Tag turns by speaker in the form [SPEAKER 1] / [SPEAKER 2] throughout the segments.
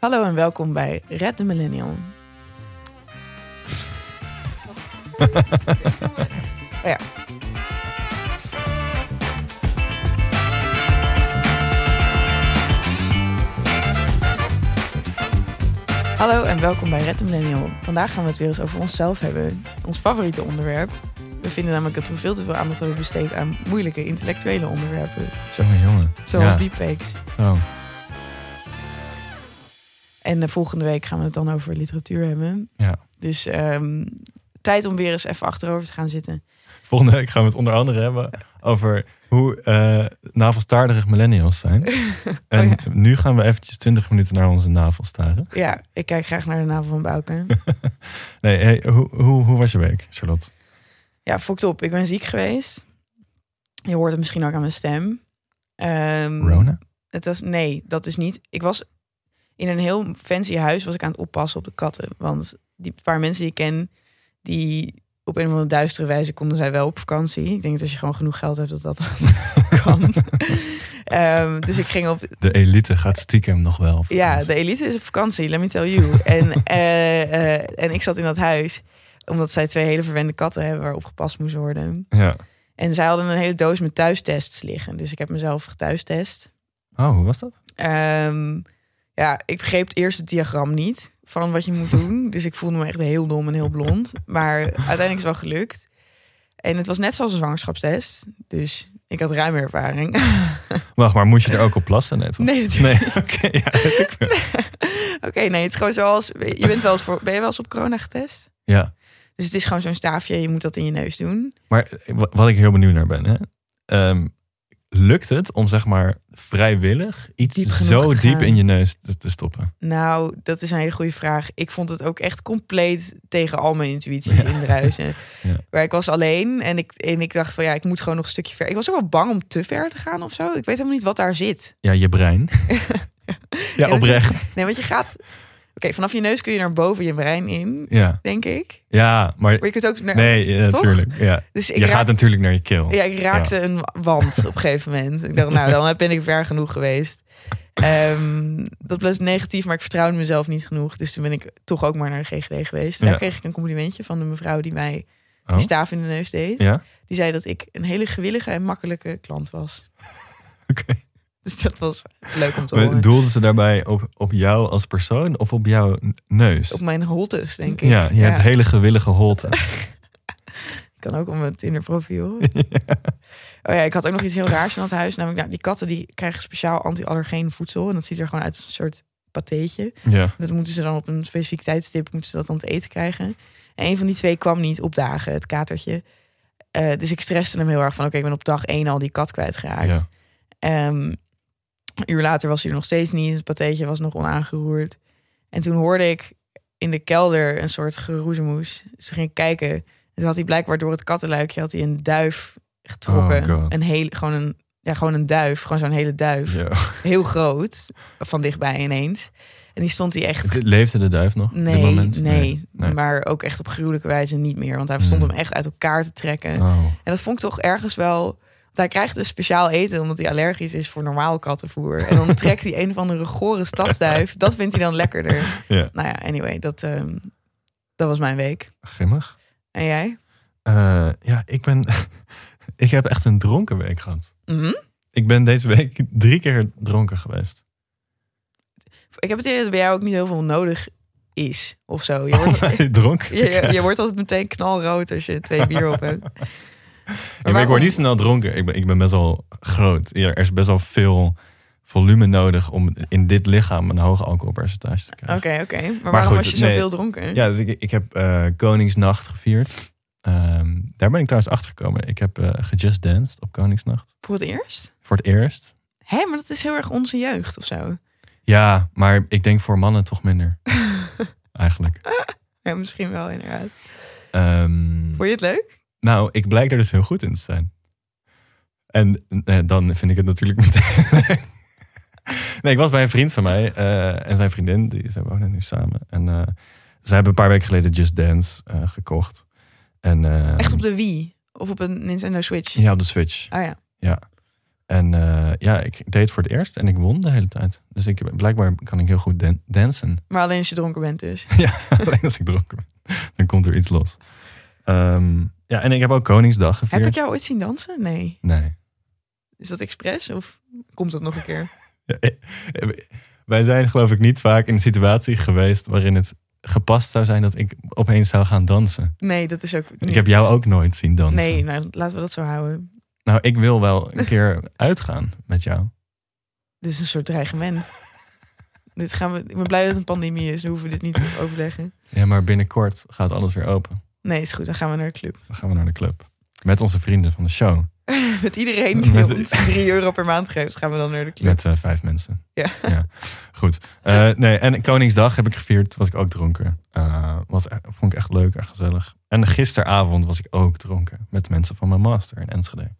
[SPEAKER 1] Hallo en welkom bij Red the Millennial. Oh ja. Hallo en welkom bij Red the Millennial. Vandaag gaan we het weer eens over onszelf hebben. Ons favoriete onderwerp. We vinden namelijk dat we veel te veel aandacht hebben besteed aan moeilijke intellectuele onderwerpen.
[SPEAKER 2] Jongen, jongen.
[SPEAKER 1] Zoals
[SPEAKER 2] Ja, Oh.
[SPEAKER 1] deepfakes.
[SPEAKER 2] zo.
[SPEAKER 1] En eh, volgende week gaan we het dan over literatuur hebben.
[SPEAKER 2] Ja.
[SPEAKER 1] Dus ehm, tijd om weer eens even achterover te gaan zitten.
[SPEAKER 2] Volgende week gaan we het onder andere hebben over hoe eh navelstaardig millennials zijn. En
[SPEAKER 1] Oh, ja.
[SPEAKER 2] nu gaan we eventjes 20 minuten naar onze navel staren.
[SPEAKER 1] Ja, ik kijk graag naar de navel van Bouke.
[SPEAKER 2] Nee, hey, hoe, hoe, hoe was je week, Charlotte?
[SPEAKER 1] ja, fokt op. Ik ben ziek geweest. Je hoort het misschien ook aan mijn stem. Ehm,
[SPEAKER 2] Rona?
[SPEAKER 1] Het was, nee, dat is niet. Ik was in een heel fancy huis was ik aan het oppassen op de katten. Want die paar mensen die ik ken, die op een of andere duistere wijze konden zij wel op vakantie. Ik denk dat als je gewoon genoeg geld hebt, dat dat kan. Ehm, dus ik ging op
[SPEAKER 2] De elite gaat stiekem nog wel. op
[SPEAKER 1] Ja,
[SPEAKER 2] vakantie.
[SPEAKER 1] de elite is op vakantie, let me tell you. en, eh, eh, en ik zat in dat huis omdat zij twee hele verwende katten hebben waarop gepast moest worden.
[SPEAKER 2] ja.
[SPEAKER 1] En zij hadden een hele doos met thuistests liggen. Dus ik heb mezelf gethuistest.
[SPEAKER 2] Oh, hoe was dat?
[SPEAKER 1] Ehm ja, ik begreep het eerste diagram niet van wat je moet doen. Dus ik voelde me echt heel dom en heel blond. Maar uiteindelijk is het wel gelukt. En het was net zoals een zwangerschapstest. Dus ik had ruime ervaring.
[SPEAKER 2] Wacht, maar moest je er ook op plassen? Nee, toch?
[SPEAKER 1] Nee, natuurlijk.
[SPEAKER 2] Nee, oké. ja, weet ik veel.
[SPEAKER 1] Oké, nee, het is gewoon zoals... Je bent wel eens voor, ben je wel eens op corona getest?
[SPEAKER 2] ja,
[SPEAKER 1] Dus het is gewoon zo'n staafje, je moet dat in je neus doen.
[SPEAKER 2] maar eh, wa- wat ik heel benieuwd naar ben, hè? Ehm, lukt het om zeg maar vrijwillig iets
[SPEAKER 1] Diep genoeg
[SPEAKER 2] zo
[SPEAKER 1] te
[SPEAKER 2] diep
[SPEAKER 1] gaan.
[SPEAKER 2] in je neus te, te stoppen?
[SPEAKER 1] Nou, dat is een hele goede vraag. Ik vond het ook echt compleet tegen al mijn intuïties in indruisen.
[SPEAKER 2] Ja.
[SPEAKER 1] Maar ik was alleen en ik, en ik dacht van ja, ik moet gewoon nog een stukje ver. Ik was ook wel bang om te ver te gaan of zo. Ik weet helemaal niet wat daar zit.
[SPEAKER 2] Ja, je brein. ja,
[SPEAKER 1] dat-
[SPEAKER 2] oprecht.
[SPEAKER 1] Nee, want je gaat... Oké, vanaf je neus kun je naar boven je brein in,
[SPEAKER 2] Ja,
[SPEAKER 1] denk ik.
[SPEAKER 2] ja maar.
[SPEAKER 1] Maar je kunt ook... Naar,
[SPEAKER 2] Nee, ja,
[SPEAKER 1] Toch?
[SPEAKER 2] natuurlijk. Ja.
[SPEAKER 1] Dus ik
[SPEAKER 2] Je
[SPEAKER 1] raak-
[SPEAKER 2] gaat natuurlijk naar je keel.
[SPEAKER 1] Ja, ik raakte een wand op een gegeven moment. Ik dacht, nou, dan ben ik ver genoeg geweest. Ehm, dat was negatief, maar ik vertrouwde mezelf niet genoeg. Dus toen ben ik toch ook maar naar de GGD geweest. Daar
[SPEAKER 2] Ja.
[SPEAKER 1] kreeg ik een complimentje van de mevrouw die mij
[SPEAKER 2] Oh?
[SPEAKER 1] die staaf in de neus deed.
[SPEAKER 2] Ja?
[SPEAKER 1] Die zei dat ik een hele gewillige en makkelijke klant was.
[SPEAKER 2] Oké.
[SPEAKER 1] Dus dat was leuk om te
[SPEAKER 2] Maar
[SPEAKER 1] horen.
[SPEAKER 2] Doelden ze daarbij op, op jou als persoon of op jouw n- neus?
[SPEAKER 1] Op mijn holtes, denk ik.
[SPEAKER 2] ja, je hebt hele gewillige holte.
[SPEAKER 1] Ik kan ook om het Tinder-profiel. Oh ja, ik had ook nog iets heel raars in dat huis. Namelijk, nou, die katten die krijgen speciaal anti-allergeen voedsel. En dat ziet er gewoon uit als een soort patheetje.
[SPEAKER 2] ja.
[SPEAKER 1] Dat moeten ze dan op een specifiek tijdstip moeten ze dat dan te eten krijgen. En een van die twee kwam niet op dagen, het katertje. Eh, dus ik stresste hem heel erg van oké, ik ben op dag één al die kat kwijtgeraakt.
[SPEAKER 2] ja.
[SPEAKER 1] Ehm, een uur later was hij er nog steeds niet. Het patheetje was nog onaangeroerd. En toen hoorde ik in de kelder een soort geroezemoes. Dus toen ging ik kijken. En toen had hij blijkbaar door het kattenluikje had hij een duif getrokken.
[SPEAKER 2] Oh God.
[SPEAKER 1] een hele, gewoon, een, ja, gewoon een duif. Gewoon zo'n hele duif.
[SPEAKER 2] Ja.
[SPEAKER 1] Heel groot. Van dichtbij ineens. En die stond hij echt
[SPEAKER 2] Leefde de duif nog? op dit
[SPEAKER 1] Nee, nee,
[SPEAKER 2] moment? nee.
[SPEAKER 1] maar ook echt op gruwelijke wijze niet meer. Want hij stond
[SPEAKER 2] Hmm.
[SPEAKER 1] hem echt uit elkaar te trekken.
[SPEAKER 2] Oh.
[SPEAKER 1] En dat vond ik toch ergens wel... Want hij krijgt dus speciaal eten omdat hij allergisch is voor normaal kattenvoer. En dan trekt hij een of andere gore stadsduif. Dat vindt hij dan lekkerder.
[SPEAKER 2] Ja,
[SPEAKER 1] Nou ja, anyway, dat, ehm, dat was mijn week.
[SPEAKER 2] grimmig.
[SPEAKER 1] En jij?
[SPEAKER 2] Eh, ja, ik ben... ik heb echt een dronken week gehad.
[SPEAKER 1] Mhm.
[SPEAKER 2] Ik ben deze week drie keer dronken geweest.
[SPEAKER 1] Ik heb het idee dat het bij jou ook niet heel veel nodig is of zo. Je
[SPEAKER 2] Oh,
[SPEAKER 1] wordt,
[SPEAKER 2] dronken?
[SPEAKER 1] je, je, je wordt altijd meteen knalrood als je twee bier op hebt.
[SPEAKER 2] Ja, maar ik word niet snel dronken. Ik ben, ik ben best wel groot. Ja, Er is best wel veel volume nodig om in dit lichaam een hoog alcoholpercentage te
[SPEAKER 1] Oké,
[SPEAKER 2] krijgen.
[SPEAKER 1] oké. Maar, waarom
[SPEAKER 2] goed,
[SPEAKER 1] was je
[SPEAKER 2] nee.
[SPEAKER 1] zoveel dronken?
[SPEAKER 2] Ja, dus ik, ik heb eh, Koningsnacht gevierd. Ehm, daar ben ik trouwens achter gekomen. Ik heb eh gejust danced op Koningsnacht.
[SPEAKER 1] Voor het eerst?
[SPEAKER 2] Voor het eerst.
[SPEAKER 1] Hé, maar dat is heel erg onze jeugd of zo.
[SPEAKER 2] Ja, maar ik denk voor mannen toch minder. Eigenlijk.
[SPEAKER 1] Ja, misschien wel inderdaad.
[SPEAKER 2] Ehm,
[SPEAKER 1] Vond je het leuk?
[SPEAKER 2] nou, ik blijk daar dus heel goed in te zijn. En eh, dan vind ik het natuurlijk meteen. nee, ik was bij een vriend van mij eh, en zijn vriendin, die, zij wonen nu samen. En eh, zij hebben een paar weken geleden Just Dance eh, gekocht. En, eh,
[SPEAKER 1] Echt op de Wii of op een Nintendo Switch?
[SPEAKER 2] Ja, op de Switch.
[SPEAKER 1] Oh ja.
[SPEAKER 2] En eh, ja, ik deed voor het eerst en ik won de hele tijd. Dus ik, blijkbaar kan ik heel goed dan- dansen.
[SPEAKER 1] Maar alleen als je dronken bent dus.
[SPEAKER 2] Ja, alleen als ik dronken ben. Dan komt er iets los. Ehm, ja, en ik heb ook Koningsdag gevierd.
[SPEAKER 1] Heb ik jou ooit zien dansen? Nee.
[SPEAKER 2] Nee.
[SPEAKER 1] Is dat expres of komt dat nog een keer?
[SPEAKER 2] Ja, eh, Wij zijn geloof ik niet vaak in een situatie geweest waarin het gepast zou zijn dat ik opeens zou gaan dansen.
[SPEAKER 1] Nee, dat is ook.
[SPEAKER 2] Ik heb jou ook nooit zien dansen.
[SPEAKER 1] Nee, nou, laten we dat zo houden.
[SPEAKER 2] Nou, ik wil wel een keer uitgaan met jou.
[SPEAKER 1] Dit is een soort dreigement. dit gaan we, ik ben blij dat het een pandemie is. Dan hoeven we dit niet te overleggen.
[SPEAKER 2] Ja, maar binnenkort gaat alles weer open.
[SPEAKER 1] Nee, is goed. Dan gaan we naar de club.
[SPEAKER 2] Dan gaan we naar de club. Met onze vrienden van de show.
[SPEAKER 1] Met iedereen die
[SPEAKER 2] Met-
[SPEAKER 1] ons 3 euro per maand geeft, gaan we dan naar de club.
[SPEAKER 2] Met eh, vijf mensen.
[SPEAKER 1] Ja.
[SPEAKER 2] Goed. Eh, nee, en Koningsdag heb ik gevierd. Was ik ook dronken. Eh was, e- vond ik echt leuk en gezellig. En gisteravond was ik ook dronken. Met mensen van mijn master in Enschede.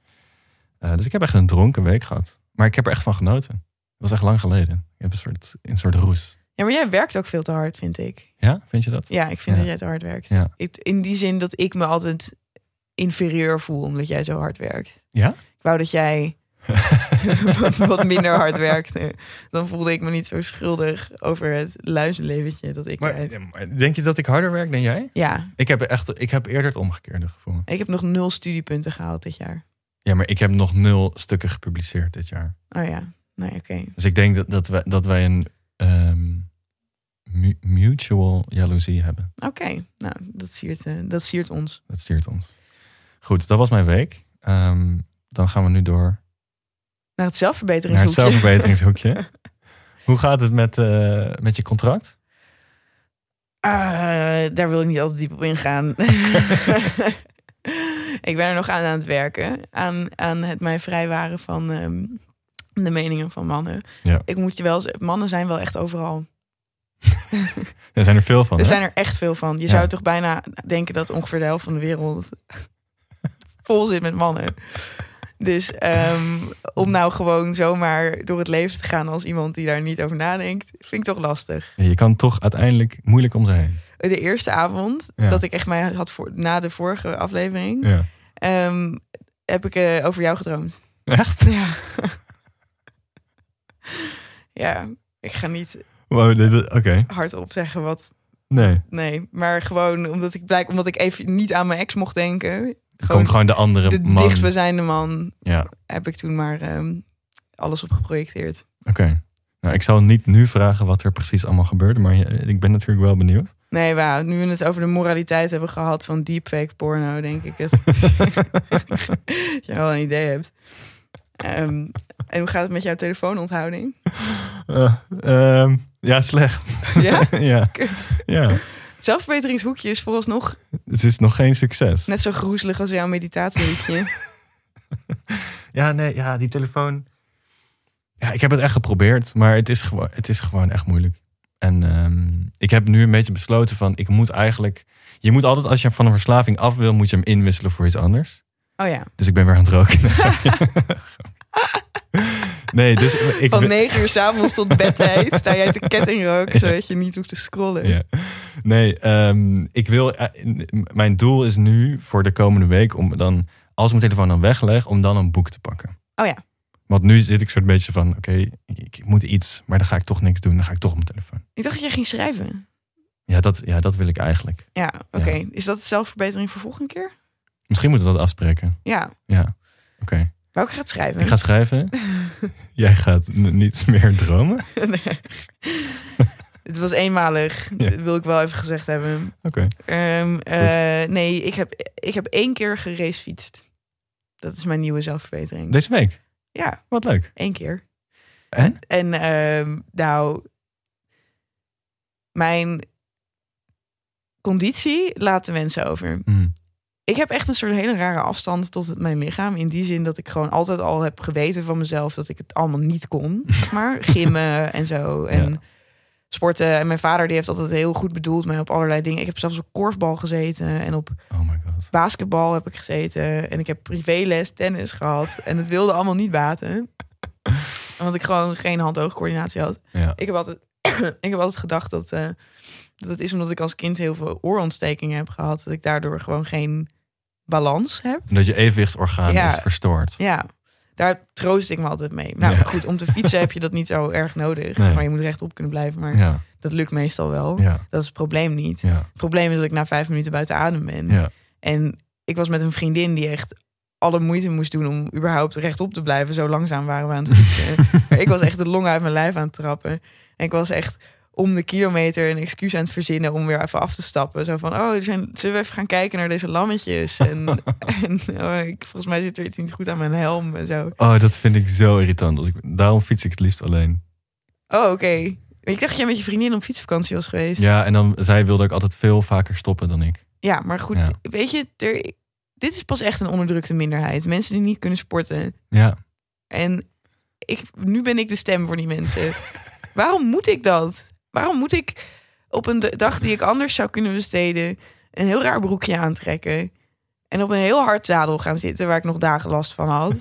[SPEAKER 2] Eh, dus ik heb echt een dronken week gehad. Maar ik heb er echt van genoten. Dat was echt lang geleden. Ik heb een soort, een soort roes.
[SPEAKER 1] Ja, maar jij werkt ook veel te hard, vind ik.
[SPEAKER 2] Ja, vind je dat?
[SPEAKER 1] Ja, ik vind
[SPEAKER 2] Ja.
[SPEAKER 1] dat jij te hard werkt.
[SPEAKER 2] Ja.
[SPEAKER 1] Ik, in die zin dat ik me altijd inferieur voel omdat jij zo hard werkt.
[SPEAKER 2] Ja?
[SPEAKER 1] Ik wou dat jij wat, wat minder hard werkte. Dan voelde ik me niet zo schuldig over het luizenleventje dat ik
[SPEAKER 2] Maar,
[SPEAKER 1] leid.
[SPEAKER 2] ja, maar denk je dat ik harder werk dan jij?
[SPEAKER 1] Ja,
[SPEAKER 2] Ik heb, echt, ik heb eerder het omgekeerde gevoel.
[SPEAKER 1] ik heb nog nul studiepunten gehaald dit jaar.
[SPEAKER 2] Ja, maar ik heb nog nul stukken gepubliceerd dit jaar.
[SPEAKER 1] Oh ja, nee, oké.
[SPEAKER 2] Dus ik denk dat, dat, wij, dat wij een ehm, mu- mutual jaloezie hebben.
[SPEAKER 1] Oké, nou, dat siert, eh, dat siert ons.
[SPEAKER 2] Dat stuurt ons. Goed, dat was mijn week. Ehm, dan gaan we nu door
[SPEAKER 1] Naar het
[SPEAKER 2] naar het
[SPEAKER 1] zelfverbeteringshoekje.
[SPEAKER 2] zelfverbeteringshoekje. Hoe gaat het met, eh, met je contract?
[SPEAKER 1] Ah, daar wil ik niet altijd diep op ingaan. ik ben er nog aan aan het werken. Aan, aan het mij vrijwaren van ehm, de meningen van mannen.
[SPEAKER 2] Ja.
[SPEAKER 1] Ik moet je wel z- mannen zijn wel echt overal.
[SPEAKER 2] Er zijn er veel van.
[SPEAKER 1] Er
[SPEAKER 2] hè?
[SPEAKER 1] zijn er echt veel van. Je
[SPEAKER 2] Ja.
[SPEAKER 1] zou toch bijna denken dat ongeveer de helft van de wereld vol zit met mannen. Dus ehm, om nou gewoon zomaar door het leven te gaan als iemand die daar niet over nadenkt, vind ik toch lastig.
[SPEAKER 2] Je kan toch uiteindelijk moeilijk om ze heen.
[SPEAKER 1] De eerste avond
[SPEAKER 2] Ja.
[SPEAKER 1] dat ik echt mij had voor, na de vorige aflevering,
[SPEAKER 2] Ja.
[SPEAKER 1] Ehm, heb ik eh, over jou gedroomd.
[SPEAKER 2] Echt?
[SPEAKER 1] Ja. ja, ik ga niet
[SPEAKER 2] Wow, dit- dit- oké.
[SPEAKER 1] hardop zeggen wat.
[SPEAKER 2] Nee.
[SPEAKER 1] Nee, maar gewoon omdat ik blijk, omdat ik even niet aan mijn ex mocht denken.
[SPEAKER 2] Er komt gewoon de andere
[SPEAKER 1] de
[SPEAKER 2] man.
[SPEAKER 1] dichtstbijzijnde man
[SPEAKER 2] Ja,
[SPEAKER 1] heb ik toen maar ehm, alles op geprojecteerd.
[SPEAKER 2] oké. Nou, ik zal niet nu vragen wat er precies allemaal gebeurde, maar je- ik ben natuurlijk wel benieuwd.
[SPEAKER 1] Nee, wauw. Nu we het over de moraliteit hebben gehad van deepfake porno, denk ik het. Als je wel een idee hebt. Ehm, en hoe gaat het met jouw telefoononthouding?
[SPEAKER 2] Eh, ehm, ja, slecht.
[SPEAKER 1] Ja?
[SPEAKER 2] ja,
[SPEAKER 1] Kut.
[SPEAKER 2] ja.
[SPEAKER 1] Zelfverbeteringshoekje is vooralsnog
[SPEAKER 2] Het is nog geen succes.
[SPEAKER 1] net zo groezelig als jouw meditatiehoekje.
[SPEAKER 2] Ja, nee, ja, die telefoon. Ja, ik heb het echt geprobeerd, maar het is, gewo- het is gewoon echt moeilijk. En ehm, ik heb nu een beetje besloten van, ik moet eigenlijk... Je moet altijd, als je van een verslaving af wil, moet je hem inwisselen voor iets anders.
[SPEAKER 1] Oh ja,
[SPEAKER 2] Dus ik ben weer aan het roken. nee, dus ik...
[SPEAKER 1] van negen uur s'avonds tot bedtijd sta jij te kettingroken, zodat je niet hoeft te scrollen.
[SPEAKER 2] Ja. Nee, ehm, ik wil. eh, m- mijn doel is nu voor de komende week om dan, als ik mijn telefoon dan wegleg, om dan een boek te pakken.
[SPEAKER 1] Oh ja.
[SPEAKER 2] Want nu zit ik soort beetje van, oké, ik, ik moet iets, maar dan ga ik toch niks doen, dan ga ik toch op mijn telefoon.
[SPEAKER 1] Ik dacht dat je ging schrijven.
[SPEAKER 2] Ja, dat, ja, dat wil ik eigenlijk.
[SPEAKER 1] Ja, oké. Is dat zelfverbeteringvervolg voor volgende keer?
[SPEAKER 2] Misschien moeten we dat afspreken.
[SPEAKER 1] Ja.
[SPEAKER 2] Ja, oké.
[SPEAKER 1] Welke gaat schrijven?
[SPEAKER 2] Ik ga schrijven. Jij gaat n- niet meer dromen. Oké.
[SPEAKER 1] Nee. Het was eenmalig,
[SPEAKER 2] Ja.
[SPEAKER 1] dat wil ik wel even gezegd hebben. Ehm, eh, nee, ik heb, ik heb één keer geracefietst. Dat is mijn nieuwe zelfverbetering.
[SPEAKER 2] Deze week.
[SPEAKER 1] Ja.
[SPEAKER 2] Wat leuk.
[SPEAKER 1] Eén keer.
[SPEAKER 2] En?
[SPEAKER 1] En ehm, nou, mijn conditie laat de mensen over.
[SPEAKER 2] Hm.
[SPEAKER 1] Ik heb echt een soort hele rare afstand tot het- mijn lichaam. In die zin dat ik gewoon altijd al heb geweten van mezelf dat ik het allemaal niet kon. Maar gymmen en zo. En
[SPEAKER 2] Ja.
[SPEAKER 1] sporten. En mijn vader die heeft altijd heel goed bedoeld mij op allerlei dingen. Ik heb zelfs op korfbal gezeten en op
[SPEAKER 2] Oh my god.
[SPEAKER 1] basketbal heb ik gezeten. En ik heb privéles tennis gehad. En het wilde allemaal niet baten. Want ik gewoon geen hand-oogcoördinatie had.
[SPEAKER 2] Ja.
[SPEAKER 1] Ik heb altijd, ik heb altijd gedacht dat, eh, dat het is omdat ik als kind heel veel oorontstekingen heb gehad. Dat ik daardoor gewoon geen balans heb.
[SPEAKER 2] Dat je evenwichtsorgaan
[SPEAKER 1] Ja.
[SPEAKER 2] is verstoord.
[SPEAKER 1] Ja. Daar troost ik me altijd mee. Nou
[SPEAKER 2] Ja.
[SPEAKER 1] goed, om te fietsen heb je dat niet zo erg nodig.
[SPEAKER 2] Nee.
[SPEAKER 1] Maar je moet rechtop kunnen blijven. Maar
[SPEAKER 2] Ja,
[SPEAKER 1] dat lukt meestal wel.
[SPEAKER 2] ja,
[SPEAKER 1] Dat is het probleem niet.
[SPEAKER 2] ja,
[SPEAKER 1] Het probleem is dat ik na vijf minuten buiten adem ben.
[SPEAKER 2] ja.
[SPEAKER 1] En ik was met een vriendin die echt alle moeite moest doen om überhaupt rechtop te blijven. Zo langzaam waren we aan het fietsen. maar ik was echt de long uit mijn lijf aan het trappen. En ik was echt om de kilometer een excuus aan het verzinnen om weer even af te stappen. Zo van, oh, er zijn, zullen we even gaan kijken naar deze lammetjes? En, en oh, ik, volgens mij zit er iets niet goed aan mijn helm en zo.
[SPEAKER 2] Oh, dat vind ik zo irritant. Als ik, daarom fiets ik het liefst alleen.
[SPEAKER 1] Oh, oké. Ik dacht dat jij met je vriendin op fietsvakantie was geweest.
[SPEAKER 2] Ja, en dan, zij wilde ook altijd veel vaker stoppen dan ik.
[SPEAKER 1] Ja, maar goed,
[SPEAKER 2] Ja.
[SPEAKER 1] weet je, er, dit is pas echt een onderdrukte minderheid. Mensen die niet kunnen sporten.
[SPEAKER 2] Ja,
[SPEAKER 1] En ik, nu ben ik de stem voor die mensen. Waarom moet ik dat? Waarom moet ik op een d- dag die ik anders zou kunnen besteden... een heel raar broekje aantrekken... en op een heel hard zadel gaan zitten... waar ik nog dagen last van had?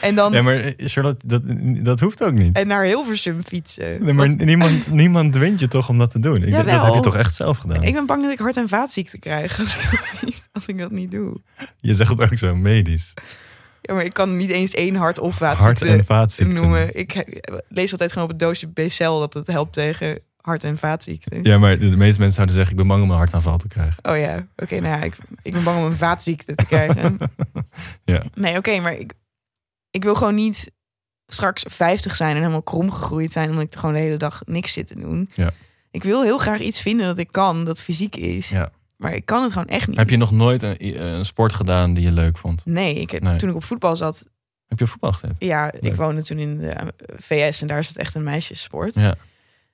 [SPEAKER 1] En dan
[SPEAKER 2] ja maar eh, Charlotte, dat, dat hoeft ook niet.
[SPEAKER 1] en naar Hilversum fietsen.
[SPEAKER 2] Nee, maar
[SPEAKER 1] Want
[SPEAKER 2] niemand, niemand dwingt je toch om dat te doen. Ik, dat
[SPEAKER 1] Jawel.
[SPEAKER 2] heb je toch echt zelf gedaan?
[SPEAKER 1] ik ben bang dat ik hart- en vaatziekten krijg... als ik dat niet, als ik dat niet doe.
[SPEAKER 2] Je zegt het ook zo, medisch.
[SPEAKER 1] Ja, maar ik kan niet eens één hart- of
[SPEAKER 2] Hart-
[SPEAKER 1] vaatziekte
[SPEAKER 2] en vaatziekten.
[SPEAKER 1] noemen. Ik he- lees altijd gewoon op het doosje B-cel... dat het helpt tegen hart- en vaatziekten.
[SPEAKER 2] Ja, maar de meeste mensen zouden zeggen, ik ben bang om een hartaanval te krijgen.
[SPEAKER 1] Oh ja, oké, nou ja, ik, ik ben bang om een vaatziekte te krijgen.
[SPEAKER 2] Ja.
[SPEAKER 1] Nee, oké, maar ik, ik wil gewoon niet straks 50 zijn en helemaal krom gegroeid zijn... omdat ik gewoon de hele dag niks zit te doen.
[SPEAKER 2] Ja.
[SPEAKER 1] Ik wil heel graag iets vinden dat ik kan, dat fysiek is.
[SPEAKER 2] Ja.
[SPEAKER 1] Maar ik kan het gewoon echt niet.
[SPEAKER 2] Heb je nog nooit een, een sport gedaan die je leuk vond?
[SPEAKER 1] Nee, ik heb,
[SPEAKER 2] Nee.
[SPEAKER 1] toen ik op voetbal zat...
[SPEAKER 2] Heb je voetbal gezet?
[SPEAKER 1] Ja, ik
[SPEAKER 2] Leuk.
[SPEAKER 1] woonde toen in de eh, VS en daar is het echt een meisjessport.
[SPEAKER 2] Ja.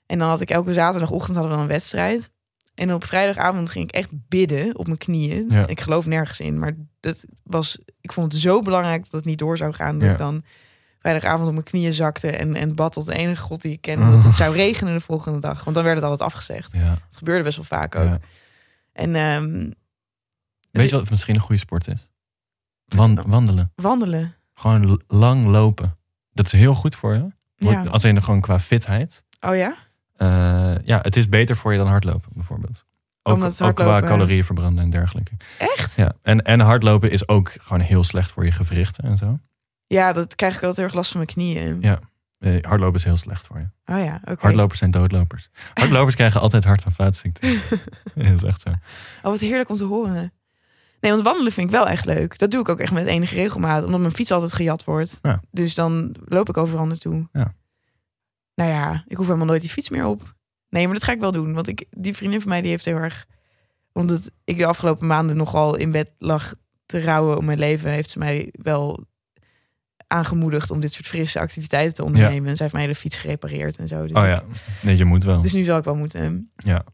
[SPEAKER 1] En dan had ik elke zaterdagochtend hadden we dan een wedstrijd. En op vrijdagavond ging ik echt bidden op mijn knieën.
[SPEAKER 2] Ja.
[SPEAKER 1] Ik geloof nergens in, maar dat was, ik vond het zo belangrijk dat het niet door zou gaan. Dat
[SPEAKER 2] Ja.
[SPEAKER 1] ik dan vrijdagavond op mijn knieën zakte en, en bad tot de enige god die ik ken. Dat het zou regenen de volgende dag, want dan werd het altijd afgezegd.
[SPEAKER 2] Ja.
[SPEAKER 1] Het gebeurde best wel vaak ook.
[SPEAKER 2] ja.
[SPEAKER 1] En ehm,
[SPEAKER 2] Weet je wat misschien een goede sport is? Wan- wandelen.
[SPEAKER 1] wandelen.
[SPEAKER 2] Gewoon l- lang lopen. Dat is heel goed voor je.
[SPEAKER 1] Ja.
[SPEAKER 2] Als in gewoon qua fitheid.
[SPEAKER 1] Oh ja?
[SPEAKER 2] Eh, ja, het is beter voor je dan hardlopen bijvoorbeeld. Ook,
[SPEAKER 1] Omdat
[SPEAKER 2] ook qua
[SPEAKER 1] hardlopen-
[SPEAKER 2] calorieën verbranden en dergelijke.
[SPEAKER 1] Echt?
[SPEAKER 2] Ja. En, en hardlopen is ook gewoon heel slecht voor je gewrichten en zo.
[SPEAKER 1] Ja, dat krijg ik altijd heel erg last van mijn knieën.
[SPEAKER 2] Ja. Eh, hardlopen is heel slecht voor je.
[SPEAKER 1] Oh ja, oké.
[SPEAKER 2] Hardlopers zijn doodlopers. Hardlopers krijgen altijd hart- en vaatziekten. Ja, dat is echt zo.
[SPEAKER 1] Oh, wat heerlijk om te horen. Nee, want wandelen vind ik wel echt leuk. Dat doe ik ook echt met enige regelmaat, omdat mijn fiets altijd gejat wordt.
[SPEAKER 2] Ja.
[SPEAKER 1] Dus dan loop ik overal naartoe.
[SPEAKER 2] Ja.
[SPEAKER 1] Nou ja, ik hoef helemaal nooit die fiets meer op. Nee, maar dat ga ik wel doen. Want ik, die vriendin van mij die heeft heel erg... Omdat ik de afgelopen maanden nogal in bed lag te rouwen om mijn leven... heeft ze mij wel aangemoedigd om dit soort frisse activiteiten te ondernemen. En zij heeft mijn hele fiets gerepareerd en zo. Dus
[SPEAKER 2] Oh
[SPEAKER 1] ik-
[SPEAKER 2] ja, nee, je moet wel.
[SPEAKER 1] dus nu zal ik wel moeten.
[SPEAKER 2] Ja.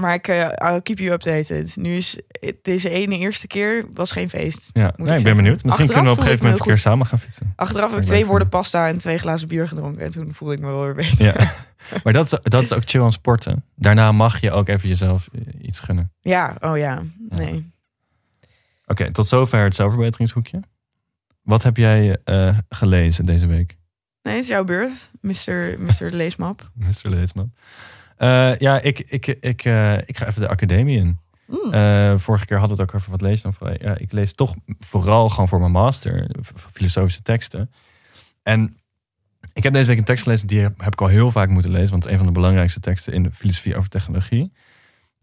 [SPEAKER 1] Maar ik eh, I'll keep you updated. Nu is het- deze ene eerste keer was geen feest.
[SPEAKER 2] ja.
[SPEAKER 1] ik
[SPEAKER 2] Nee, ik ben
[SPEAKER 1] zeggen.
[SPEAKER 2] benieuwd. Misschien
[SPEAKER 1] Achteraf
[SPEAKER 2] kunnen we op een
[SPEAKER 1] voel ik
[SPEAKER 2] gegeven
[SPEAKER 1] me
[SPEAKER 2] moment een keer samen gaan fietsen.
[SPEAKER 1] Achteraf heb ik
[SPEAKER 2] Ik
[SPEAKER 1] twee
[SPEAKER 2] ben
[SPEAKER 1] woorden pasta en twee glazen bier gedronken. En toen voelde ik me wel weer beter.
[SPEAKER 2] Ja. maar dat is, dat is ook chill aan sporten. Daarna mag je ook even jezelf eh, iets gunnen.
[SPEAKER 1] Ja, oh ja. Nee.
[SPEAKER 2] Oké, tot zover het zelfverbeteringshoekje. Wat heb jij eh, gelezen deze week,
[SPEAKER 1] Nee, het is jouw beurt, Mr. Mr. Leesmap.
[SPEAKER 2] Mr. Leesman? Eh, ja, ik, ik, ik, eh, ik ga even de academie in. Eh, vorige keer hadden we het ook over wat lees je dan. voor- Ja, ik lees toch vooral gewoon voor mijn master f- filosofische teksten. En ik heb deze week een tekst gelezen die heb, heb ik al heel vaak moeten lezen. Want het is een van de belangrijkste teksten in de filosofie over technologie.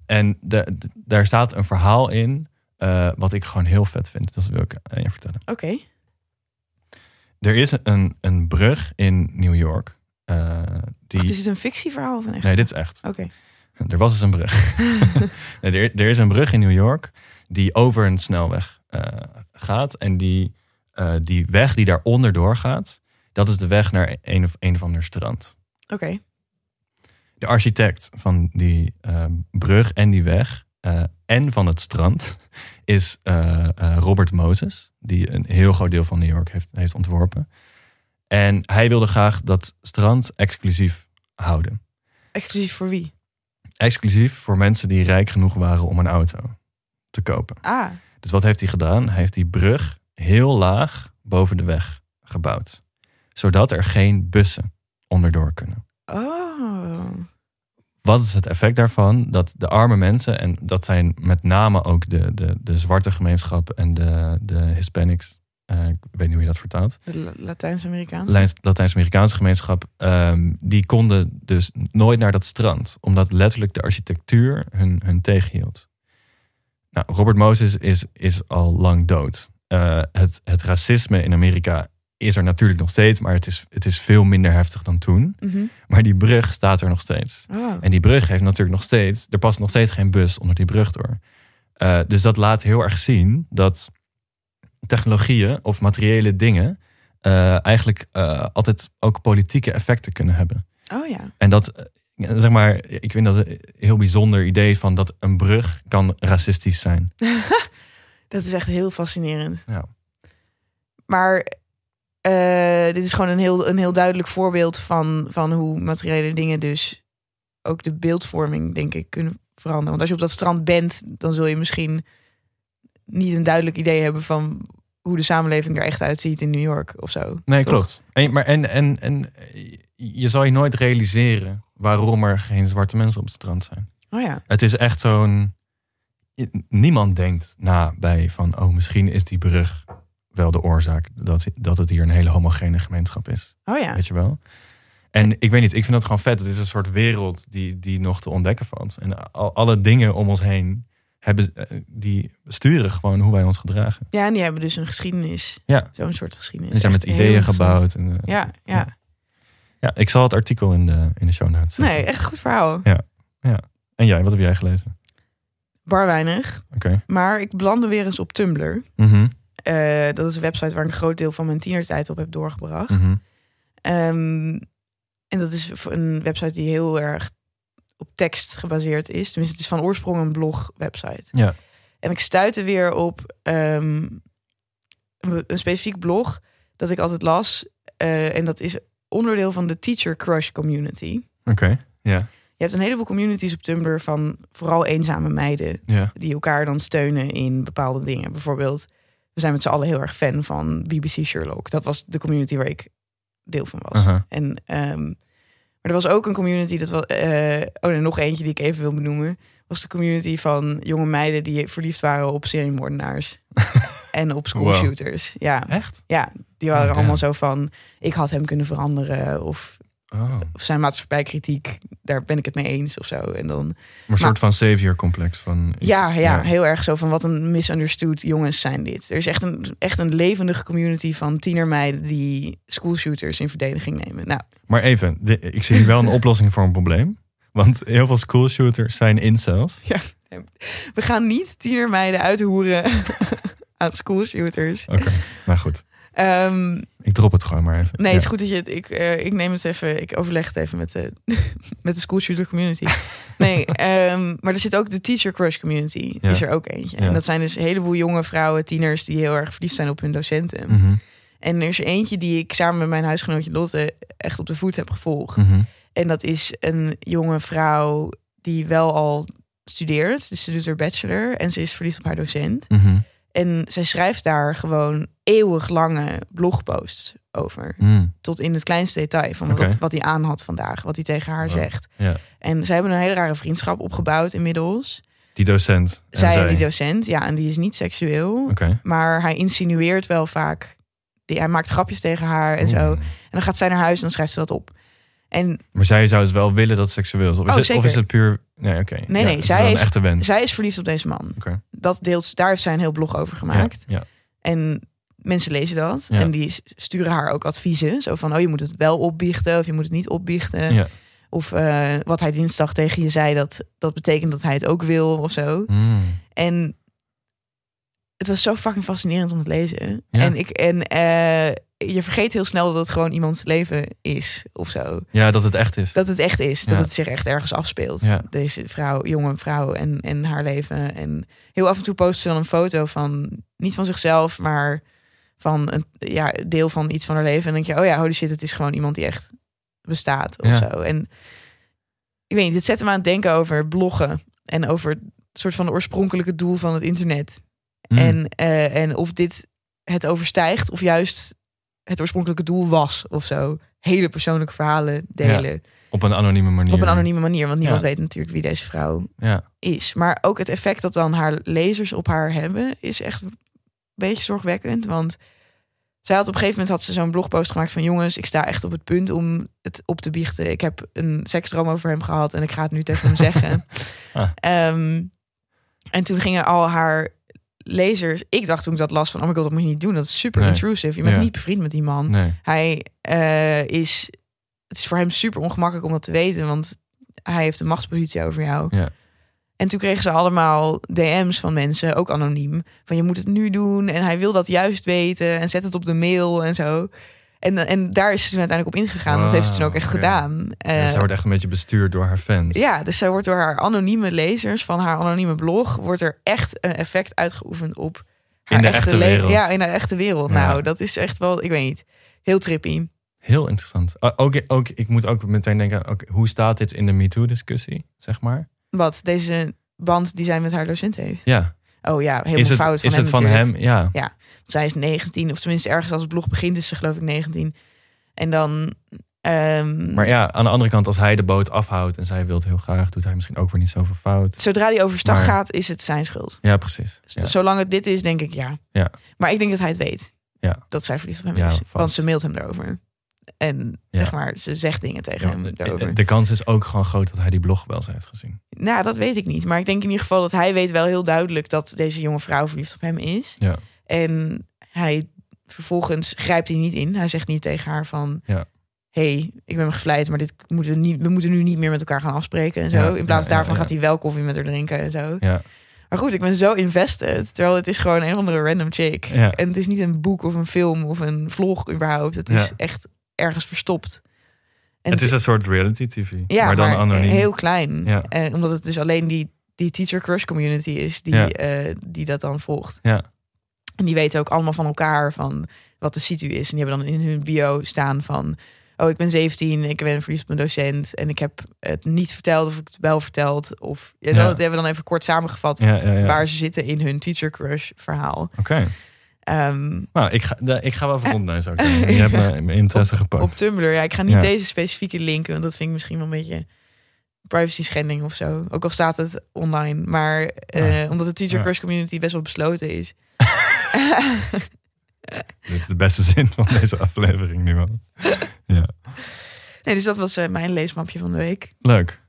[SPEAKER 2] En de- de- daar staat een verhaal in eh, wat ik gewoon heel vet vind. Dat wil ik aan je vertellen.
[SPEAKER 1] Oké.
[SPEAKER 2] Er is een, een brug in New York. eh, die...
[SPEAKER 1] Wacht, is het een fictieverhaal of een echt?
[SPEAKER 2] Nee, dit is echt.
[SPEAKER 1] Oké.
[SPEAKER 2] Er was dus een brug. Nee, er, er is een brug in New York die over een snelweg eh, gaat. En die, eh, die weg die daaronder doorgaat, dat is de weg naar een of, een of ander strand.
[SPEAKER 1] Oké.
[SPEAKER 2] De architect van die eh, brug en die weg eh, en van het strand is eh, eh, Robert Moses. Die een heel groot deel van New York heeft, heeft ontworpen. En hij wilde graag dat strand exclusief houden
[SPEAKER 1] Exclusief voor wie?
[SPEAKER 2] exclusief voor mensen die rijk genoeg waren om een auto te kopen.
[SPEAKER 1] Ah,
[SPEAKER 2] Dus wat heeft hij gedaan? Hij heeft die brug heel laag boven de weg gebouwd. Zodat er geen bussen onderdoor kunnen.
[SPEAKER 1] oh.
[SPEAKER 2] Wat is het effect daarvan? Dat de arme mensen, en dat zijn met name ook de, de, de zwarte gemeenschap en de, de Hispanics eh, ik weet niet hoe je dat vertaalt.
[SPEAKER 1] De La- Latijns-Amerikaanse.
[SPEAKER 2] Lijns- Latijns-Amerikaanse gemeenschap, ehm, die konden dus nooit naar dat strand, omdat letterlijk de architectuur hun, hun tegenhield. Nou, Robert Moses is, is al lang dood. Eh, het, het racisme in Amerika is er natuurlijk nog steeds, maar het is, het is veel minder heftig dan toen.
[SPEAKER 1] Mhm.
[SPEAKER 2] Maar die brug staat er nog steeds.
[SPEAKER 1] Oh.
[SPEAKER 2] En die brug heeft natuurlijk nog steeds, er past nog steeds geen bus onder die brug door. Eh, dus dat laat heel erg zien dat technologieën of materiële dingen eh, eigenlijk eh, altijd ook politieke effecten kunnen hebben.
[SPEAKER 1] oh ja.
[SPEAKER 2] En dat, eh, zeg maar, ik vind dat een heel bijzonder idee van dat een brug kan racistisch zijn.
[SPEAKER 1] Dat is echt heel fascinerend.
[SPEAKER 2] Ja.
[SPEAKER 1] Maar eh, dit is gewoon een heel, een heel duidelijk voorbeeld van, van hoe materiële dingen dus ook de beeldvorming, denk ik, kunnen veranderen. Want als je op dat strand bent, dan zul je misschien niet een duidelijk idee hebben van hoe de samenleving er echt uitziet in New York of zo.
[SPEAKER 2] Nee,
[SPEAKER 1] Toch?
[SPEAKER 2] klopt. En, maar en, en, en eh, je zal je nooit realiseren waarom er geen zwarte mensen op het strand zijn.
[SPEAKER 1] Oh ja.
[SPEAKER 2] Het is echt zo'n. Niemand denkt na bij van. Oh, misschien is die brug wel de oorzaak dat, dat het hier een hele homogene gemeenschap is.
[SPEAKER 1] Oh ja.
[SPEAKER 2] Weet je wel? En ik weet niet, ik vind dat gewoon vet. Het is een soort wereld die, die nog te ontdekken valt. En al, alle dingen om ons heen hebben, eh, die sturen gewoon hoe wij ons gedragen.
[SPEAKER 1] Ja, en die hebben dus een geschiedenis.
[SPEAKER 2] Ja.
[SPEAKER 1] Zo'n soort geschiedenis.
[SPEAKER 2] En die zijn
[SPEAKER 1] Echt
[SPEAKER 2] met
[SPEAKER 1] heel
[SPEAKER 2] ideeën
[SPEAKER 1] interessant.
[SPEAKER 2] gebouwd. En, eh,
[SPEAKER 1] Ja, ja.
[SPEAKER 2] ja, ik zal het artikel in de, in de show notes zetten.
[SPEAKER 1] Nee, echt goed verhaal.
[SPEAKER 2] En jij, wat heb jij gelezen?
[SPEAKER 1] Bar weinig.
[SPEAKER 2] Oké.
[SPEAKER 1] Maar ik belandde weer eens op Tumblr.
[SPEAKER 2] Mhm,
[SPEAKER 1] Eh, dat is een website waar ik een groot deel van mijn tienertijd op heb doorgebracht.
[SPEAKER 2] mhm.
[SPEAKER 1] Ehm, en dat is v- een website die heel erg op tekst gebaseerd is. Tenminste, het is van oorsprong een blog-website.
[SPEAKER 2] Ja.
[SPEAKER 1] En ik stuitte weer op ehm, een, be- een specifiek blog dat ik altijd las. eh, en dat is onderdeel van de Teacher Crush Community.
[SPEAKER 2] Oké. Ja.
[SPEAKER 1] Je hebt een heleboel communities op Tumblr van vooral eenzame meiden
[SPEAKER 2] Ja.
[SPEAKER 1] die elkaar dan steunen in bepaalde dingen. Bijvoorbeeld, we zijn met z'n allen heel erg fan van BBC Sherlock. Dat was de community waar ik deel van was.
[SPEAKER 2] Aha.
[SPEAKER 1] En, ehm, maar er was ook een community, dat was, eh, oh en nog eentje die ik even wil benoemen, was de community van jonge meiden die verliefd waren op seriemoordenaars en op schoolshooters. Ja,
[SPEAKER 2] Echt?
[SPEAKER 1] ja, die waren
[SPEAKER 2] Oh, ja.
[SPEAKER 1] allemaal zo van, ik had hem kunnen veranderen of,
[SPEAKER 2] Oh.
[SPEAKER 1] of zijn maatschappijkritiek, daar ben ik het mee eens of zo. En dan
[SPEAKER 2] Maar een soort van savior complex van.
[SPEAKER 1] Ja, ja,
[SPEAKER 2] ja.
[SPEAKER 1] heel erg zo van wat een misunderstood jongens zijn dit. Er is echt een, echt een levendige community van tienermeiden die schoolshooters in verdediging nemen. Nou,
[SPEAKER 2] Maar even, de- ik zie hier wel een oplossing voor een probleem. Want heel veel schoolshooters zijn incels.
[SPEAKER 1] we gaan niet tienermeiden uithoeren aan schoolshooters.
[SPEAKER 2] Oké, nou goed.
[SPEAKER 1] Ehm,
[SPEAKER 2] Ik drop het gewoon maar even.
[SPEAKER 1] nee,
[SPEAKER 2] Ja.
[SPEAKER 1] het is goed dat je het... Ik, eh, ik neem het even, ik overleg het even met de, met de schoolshooter community. Nee, ehm, maar er zit ook de teacher crush community,
[SPEAKER 2] Ja.
[SPEAKER 1] is er ook eentje.
[SPEAKER 2] Ja.
[SPEAKER 1] En dat zijn dus een heleboel jonge vrouwen, tieners, die heel erg verliefd zijn op hun docenten.
[SPEAKER 2] Mhm,
[SPEAKER 1] En er is eentje die ik samen met mijn huisgenootje Lotte echt op de voet heb gevolgd.
[SPEAKER 2] mhm.
[SPEAKER 1] En dat is een jonge vrouw die wel al studeert. Dus ze doet haar bachelor en ze is verliefd op haar docent.
[SPEAKER 2] Mhm.
[SPEAKER 1] En zij schrijft daar gewoon eeuwig lange blogposts over.
[SPEAKER 2] Mm.
[SPEAKER 1] Tot in het kleinste detail van
[SPEAKER 2] Oké.
[SPEAKER 1] wat, wat hij aan had vandaag. Wat hij tegen haar
[SPEAKER 2] Wow.
[SPEAKER 1] zegt.
[SPEAKER 2] Ja.
[SPEAKER 1] En zij hebben een hele rare vriendschap opgebouwd inmiddels.
[SPEAKER 2] Die docent. en
[SPEAKER 1] zij en die docent, ja, en die is niet seksueel.
[SPEAKER 2] Oké.
[SPEAKER 1] Maar hij insinueert wel vaak. Die, hij maakt grapjes tegen haar en zo.
[SPEAKER 2] Oeh.
[SPEAKER 1] En dan gaat zij naar huis en dan schrijft ze dat op. En
[SPEAKER 2] Maar zij zou het wel willen dat het seksueel is.
[SPEAKER 1] Oh,
[SPEAKER 2] Of, is, het, of
[SPEAKER 1] zeker.
[SPEAKER 2] is het puur. Nee, oké.
[SPEAKER 1] nee,
[SPEAKER 2] Ja, het
[SPEAKER 1] zij
[SPEAKER 2] is. wel
[SPEAKER 1] is-
[SPEAKER 2] een echte wens.
[SPEAKER 1] zij is verliefd op deze man.
[SPEAKER 2] Oké.
[SPEAKER 1] Dat deelt, daar heeft zij een heel blog over gemaakt.
[SPEAKER 2] Ja. ja.
[SPEAKER 1] En mensen lezen dat.
[SPEAKER 2] Ja.
[SPEAKER 1] En die s- sturen haar ook adviezen. Zo van, oh, je moet het wel opbiechten of je moet het niet opbiechten.
[SPEAKER 2] Ja.
[SPEAKER 1] Of eh, wat hij dinsdag tegen je zei, dat, dat betekent dat hij het ook wil of zo.
[SPEAKER 2] Mm.
[SPEAKER 1] En het was zo fucking fascinerend om te lezen.
[SPEAKER 2] Ja.
[SPEAKER 1] En, ik, en eh, je vergeet heel snel dat het gewoon iemands leven is of zo.
[SPEAKER 2] ja, dat het echt is.
[SPEAKER 1] Dat het echt is. Dat
[SPEAKER 2] Ja.
[SPEAKER 1] het zich echt ergens afspeelt.
[SPEAKER 2] Ja.
[SPEAKER 1] Deze vrouw, jonge vrouw en, en haar leven. En heel af en toe posten ze dan een foto van, niet van zichzelf, maar van een ja, deel van iets van haar leven. En dan denk je, oh ja, holy shit, het is gewoon iemand die echt bestaat of
[SPEAKER 2] Ja.
[SPEAKER 1] zo. En ik weet niet, dit zet me aan het denken over bloggen. En over het soort van de oorspronkelijke doel van het internet.
[SPEAKER 2] Mm.
[SPEAKER 1] En, eh, en of dit het overstijgt of juist het oorspronkelijke doel was of zo. Hele persoonlijke verhalen delen.
[SPEAKER 2] Op een anonieme manier.
[SPEAKER 1] Op een anonieme manier, want niemand
[SPEAKER 2] Ja.
[SPEAKER 1] weet natuurlijk wie deze vrouw
[SPEAKER 2] Ja.
[SPEAKER 1] is. Maar ook het effect dat dan haar lezers op haar hebben, is echt een beetje zorgwekkend. Want Zij had op een gegeven moment had ze zo'n blogpost gemaakt van jongens, ik sta echt op het punt om het op te biechten. Ik heb een seksdroom over hem gehad en ik ga het nu tegen hem zeggen.
[SPEAKER 2] Ah.
[SPEAKER 1] Ehm, en toen gingen al haar lezers, ik dacht toen ik dat las van, oh my god, dat moet je niet doen. Dat is super
[SPEAKER 2] Nee.
[SPEAKER 1] intrusive. Je bent
[SPEAKER 2] Ja.
[SPEAKER 1] niet bevriend met die man.
[SPEAKER 2] Nee.
[SPEAKER 1] Hij eh, is, het is voor hem super ongemakkelijk om dat te weten, want hij heeft een machtspositie over jou.
[SPEAKER 2] Ja.
[SPEAKER 1] En toen kregen ze allemaal DM's van mensen, ook anoniem, van je moet het nu doen en hij wil dat juist weten en zet het op de mail en zo. En, en daar is ze toen uiteindelijk op ingegaan. dat heeft ze toen ook echt
[SPEAKER 2] Wauw, oké.
[SPEAKER 1] gedaan.
[SPEAKER 2] Ja,
[SPEAKER 1] Eh,
[SPEAKER 2] zij wordt echt een beetje bestuurd door haar fans.
[SPEAKER 1] ja, dus zij wordt door haar anonieme lezers van haar anonieme blog... wordt er echt een effect uitgeoefend op haar
[SPEAKER 2] de echte
[SPEAKER 1] le-
[SPEAKER 2] wereld.
[SPEAKER 1] Ja, in haar echte wereld.
[SPEAKER 2] Ja.
[SPEAKER 1] Nou, dat is echt wel, ik weet niet, heel trippy.
[SPEAKER 2] Heel interessant. Ah, ook, ook, ik moet ook meteen denken, oké, hoe staat dit in de MeToo-discussie, zeg maar?
[SPEAKER 1] Wat deze band die zij met haar docent heeft.
[SPEAKER 2] Ja.
[SPEAKER 1] Oh ja, helemaal
[SPEAKER 2] Is het,
[SPEAKER 1] fout van
[SPEAKER 2] is
[SPEAKER 1] hem
[SPEAKER 2] het van
[SPEAKER 1] natuurlijk.
[SPEAKER 2] hem? Ja.
[SPEAKER 1] Zij is 19, of tenminste ergens als het blog begint is ze geloof ik 19. En dan... ehm,
[SPEAKER 2] Maar ja, aan de andere kant, als hij de boot afhoudt en zij wil het heel graag, doet hij misschien ook weer niet zoveel fout.
[SPEAKER 1] Zodra die overstag
[SPEAKER 2] Maar-
[SPEAKER 1] gaat, is het zijn schuld.
[SPEAKER 2] Ja, precies.
[SPEAKER 1] Z-
[SPEAKER 2] Ja.
[SPEAKER 1] Zolang het dit is, denk ik ja.
[SPEAKER 2] Ja.
[SPEAKER 1] Maar ik denk dat hij het weet.
[SPEAKER 2] Ja.
[SPEAKER 1] Dat zij verliefd op hem
[SPEAKER 2] Ja,
[SPEAKER 1] is.
[SPEAKER 2] vast.
[SPEAKER 1] Want ze mailt hem daarover. En
[SPEAKER 2] Ja.
[SPEAKER 1] zeg maar, ze zegt dingen tegen
[SPEAKER 2] Ja, eh,
[SPEAKER 1] hem
[SPEAKER 2] de,
[SPEAKER 1] daarover.
[SPEAKER 2] de kans is ook gewoon groot dat hij die blog wel eens heeft gezien.
[SPEAKER 1] Nou, dat weet ik niet. Maar ik denk in ieder geval dat hij weet wel heel duidelijk... dat deze jonge vrouw verliefd op hem is.
[SPEAKER 2] Ja.
[SPEAKER 1] En hij vervolgens grijpt hij niet in. Hij zegt niet tegen haar van...
[SPEAKER 2] Ja.
[SPEAKER 1] hey, ik ben gevleid, maar dit moeten we, niet, we moeten nu niet meer met elkaar gaan afspreken en zo.
[SPEAKER 2] Ja,
[SPEAKER 1] in plaats
[SPEAKER 2] ja, ja,
[SPEAKER 1] daarvan
[SPEAKER 2] ja.
[SPEAKER 1] gaat hij wel koffie met haar drinken en zo.
[SPEAKER 2] Ja.
[SPEAKER 1] Maar goed, ik ben zo invested. Terwijl het is gewoon een of andere random chick.
[SPEAKER 2] Ja.
[SPEAKER 1] En het is niet een boek of een film of een vlog überhaupt. Het is
[SPEAKER 2] Ja.
[SPEAKER 1] echt ergens verstopt. En
[SPEAKER 2] het is een soort reality tv,
[SPEAKER 1] ja,
[SPEAKER 2] maar dan anoniem.
[SPEAKER 1] heel klein.
[SPEAKER 2] Ja.
[SPEAKER 1] Eh, omdat het dus alleen die, die teacher crush community is die,
[SPEAKER 2] Ja.
[SPEAKER 1] eh, die dat dan volgt.
[SPEAKER 2] Ja.
[SPEAKER 1] En die weten ook allemaal van elkaar van wat de situ is. En die hebben dan in hun bio staan van... oh, ik ben 17, ik ben verliefd op een docent... en ik heb het niet verteld of ik het wel verteld. Of, ja,
[SPEAKER 2] Ja.
[SPEAKER 1] Dat hebben we dan even kort samengevat...
[SPEAKER 2] Ja, ja, ja.
[SPEAKER 1] waar ze zitten in hun teacher crush verhaal.
[SPEAKER 2] Oké.
[SPEAKER 1] Ehm,
[SPEAKER 2] Nou, ik ga, da- ik ga wel even rondneuzen. zou ik zeggen. Je hebt me- mijn interesse gepakt.
[SPEAKER 1] Eh. op Tumblr, ja, ik ga niet
[SPEAKER 2] Ja.
[SPEAKER 1] deze specifieke linken... want dat vind ik misschien wel een beetje privacy schending of zo. Ook al staat het online. Maar eh, omdat de teacher
[SPEAKER 2] Ja.
[SPEAKER 1] crush community best wel besloten is...
[SPEAKER 2] Dit is de beste zin van deze aflevering nu al.
[SPEAKER 1] Nee, dus dat was eh, mijn leesmapje van de week.
[SPEAKER 2] Leuk.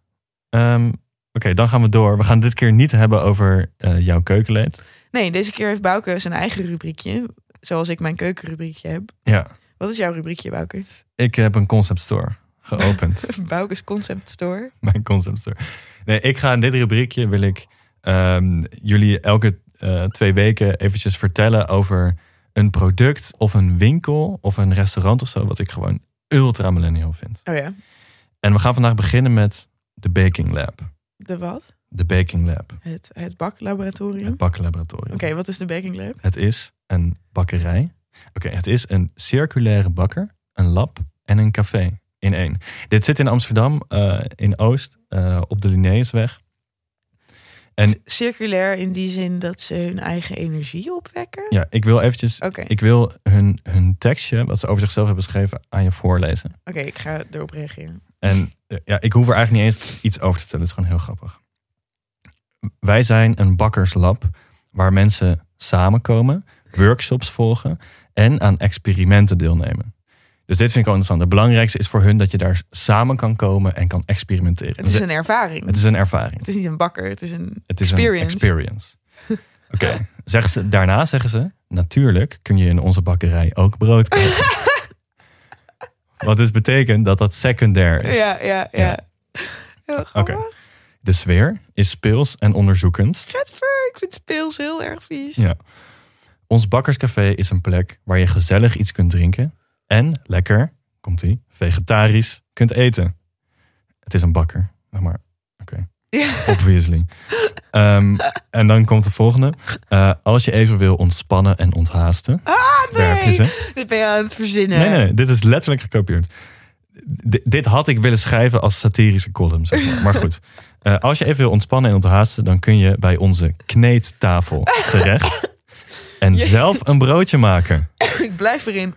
[SPEAKER 2] Ehm, Oké, dan gaan we door. We gaan dit keer niet hebben over eh, jouw keukenleed.
[SPEAKER 1] Nee, deze keer heeft Bouke zijn eigen rubriekje. Zoals ik mijn keukenrubriekje heb.
[SPEAKER 2] Ja.
[SPEAKER 1] Wat is jouw rubriekje, Bouke?
[SPEAKER 2] Ik heb een concept store geopend.
[SPEAKER 1] Bouke's Concept Store.
[SPEAKER 2] Mijn concept store. Nee, ik ga in dit rubriekje wil ik ehm, jullie elke eh, twee weken eventjes vertellen over een product of een winkel of een restaurant of zo. Wat ik gewoon ultra millennial vind.
[SPEAKER 1] Oh ja,
[SPEAKER 2] En we gaan vandaag beginnen met de Baking Lab.
[SPEAKER 1] de wat?
[SPEAKER 2] De Baking Lab.
[SPEAKER 1] Het, het baklaboratorium.
[SPEAKER 2] Het
[SPEAKER 1] Oké,
[SPEAKER 2] bakkenlaboratorium.
[SPEAKER 1] wat is de baking lab?
[SPEAKER 2] Het is een bakkerij. Oké, het is een circulaire bakker, een lab en een café in één. Dit zit in Amsterdam, eh, in Oost, eh, op de Linnaeusweg. En-
[SPEAKER 1] Circulair in die zin dat ze hun eigen energie opwekken?
[SPEAKER 2] Ja, ik wil eventjes...
[SPEAKER 1] Oké,
[SPEAKER 2] Ik wil hun, hun tekstje, wat ze over zichzelf hebben geschreven, aan je voorlezen.
[SPEAKER 1] oké, ik ga erop reageren.
[SPEAKER 2] En eh, ja, ik hoef er eigenlijk niet eens iets over te vertellen. Het is gewoon heel grappig. Wij zijn een bakkerslab waar mensen samenkomen, workshops volgen en aan experimenten deelnemen. Dus dit vind ik wel interessant. Het belangrijkste is voor hun dat je daar samen kan komen en kan experimenteren. Dus
[SPEAKER 1] Het is een ervaring.
[SPEAKER 2] het is een ervaring.
[SPEAKER 1] niet een bakker, het is een...
[SPEAKER 2] Het is
[SPEAKER 1] Experience.
[SPEAKER 2] een experience. Oké, zeggen ze, daarna zeggen ze... Natuurlijk kun je in onze bakkerij ook brood kopen. Wat dus betekent dat dat secundair is.
[SPEAKER 1] Ja, ja, ja.
[SPEAKER 2] Ja.
[SPEAKER 1] Heel
[SPEAKER 2] Oké.
[SPEAKER 1] grappig.
[SPEAKER 2] De sfeer is speels en onderzoekend.
[SPEAKER 1] Gaat ver, ik vind speels heel erg vies.
[SPEAKER 2] Ja. Ons bakkerscafé is een plek waar je gezellig iets kunt drinken... en lekker, komt ie, vegetarisch kunt eten. Het is een bakker, nou maar oké.
[SPEAKER 1] Ja.
[SPEAKER 2] Obviously. Ehm, en dan komt de volgende. Eh, als je even wil ontspannen en onthaasten...
[SPEAKER 1] Ah,
[SPEAKER 2] daar heb je
[SPEAKER 1] nee!
[SPEAKER 2] ze.
[SPEAKER 1] Dit ben je aan het verzinnen.
[SPEAKER 2] Nee, nee, nee, dit is letterlijk gekopieerd. D- dit had ik willen schrijven als satirische column. Zeg maar. maar goed, Eh, als je even wil ontspannen en onthaasten, dan kun je bij onze kneedtafel terecht. En
[SPEAKER 1] Jezus.
[SPEAKER 2] zelf een broodje maken.
[SPEAKER 1] ik blijf erin.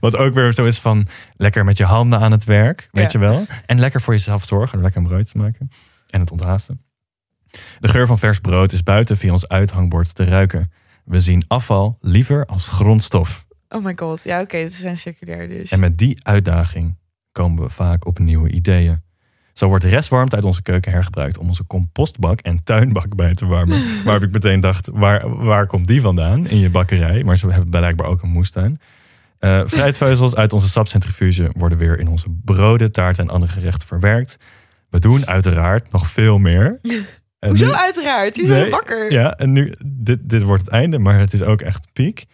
[SPEAKER 2] Wat ook weer zo is van lekker met je handen aan het werk, weet
[SPEAKER 1] Ja.
[SPEAKER 2] je wel. En lekker voor jezelf zorgen door lekker een broodje te maken. En het onthaasten. De geur van vers brood is buiten via ons uithangbord te ruiken. We zien afval liever als grondstof.
[SPEAKER 1] Oh my god. Ja, oké, ze zijn secundair dus.
[SPEAKER 2] En met die uitdaging komen we vaak op nieuwe ideeën. Zo wordt de restwarmte uit onze keuken hergebruikt om onze compostbak en tuinbak bij te warmen. Waarop ik meteen dacht, waar, waar komt die vandaan in je bakkerij? Maar ze hebben blijkbaar ook een moestuin. Eh fruitveuzels uit onze sapcentrifuge worden weer in onze broden, taarten en andere gerechten verwerkt. We doen uiteraard nog veel meer. En
[SPEAKER 1] Hoezo
[SPEAKER 2] nu-
[SPEAKER 1] uiteraard? Die zijn
[SPEAKER 2] eh, Nee,
[SPEAKER 1] wakker.
[SPEAKER 2] ja, en nu, dit, dit wordt het einde, maar het is ook echt piek.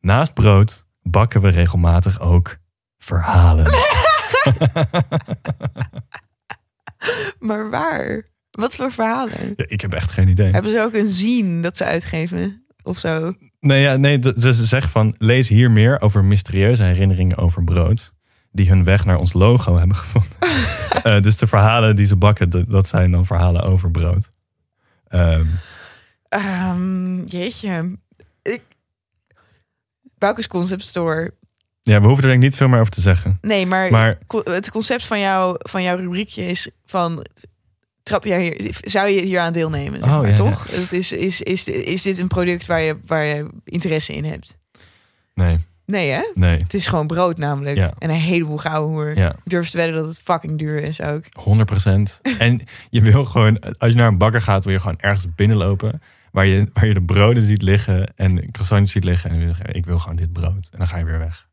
[SPEAKER 2] Naast brood bakken we regelmatig ook verhalen.
[SPEAKER 1] Maar waar? Wat voor verhalen?
[SPEAKER 2] Ja, ik heb echt geen idee.
[SPEAKER 1] Hebben ze ook een zien dat ze uitgeven? Of zo?
[SPEAKER 2] Nee, ja, nee, d- dus ze zeggen van, lees hier meer over mysterieuze herinneringen over brood. Die hun weg naar ons logo hebben gevonden. Eh, dus de verhalen die ze bakken, d- dat zijn dan verhalen over brood. Ehm,
[SPEAKER 1] Ehm, jeetje. Ik... Bauke's Concept Store.
[SPEAKER 2] ja, we hoeven er denk ik niet veel meer over te zeggen.
[SPEAKER 1] Nee, maar,
[SPEAKER 2] Maar
[SPEAKER 1] co- het concept van, jou, van jouw rubriekje is van... Trap jij hier, zou je hier aan deelnemen, zeg
[SPEAKER 2] Oh,
[SPEAKER 1] maar,
[SPEAKER 2] ja, ja.
[SPEAKER 1] toch? Het is, is, is, is dit een product waar je, waar je interesse in hebt?
[SPEAKER 2] nee,
[SPEAKER 1] Nee, hè?
[SPEAKER 2] nee,
[SPEAKER 1] Het is gewoon brood namelijk.
[SPEAKER 2] Ja.
[SPEAKER 1] En een heleboel gouden hoer.
[SPEAKER 2] ja.
[SPEAKER 1] Ik durf te wedden dat het fucking duur is ook.
[SPEAKER 2] 100%. En je wil gewoon, als je naar een bakker gaat, wil je gewoon ergens binnenlopen. Waar je, waar je de broden ziet liggen en croissantjes ziet liggen. En dan wil je zeggen, ik wil gewoon dit brood. En dan ga je weer weg.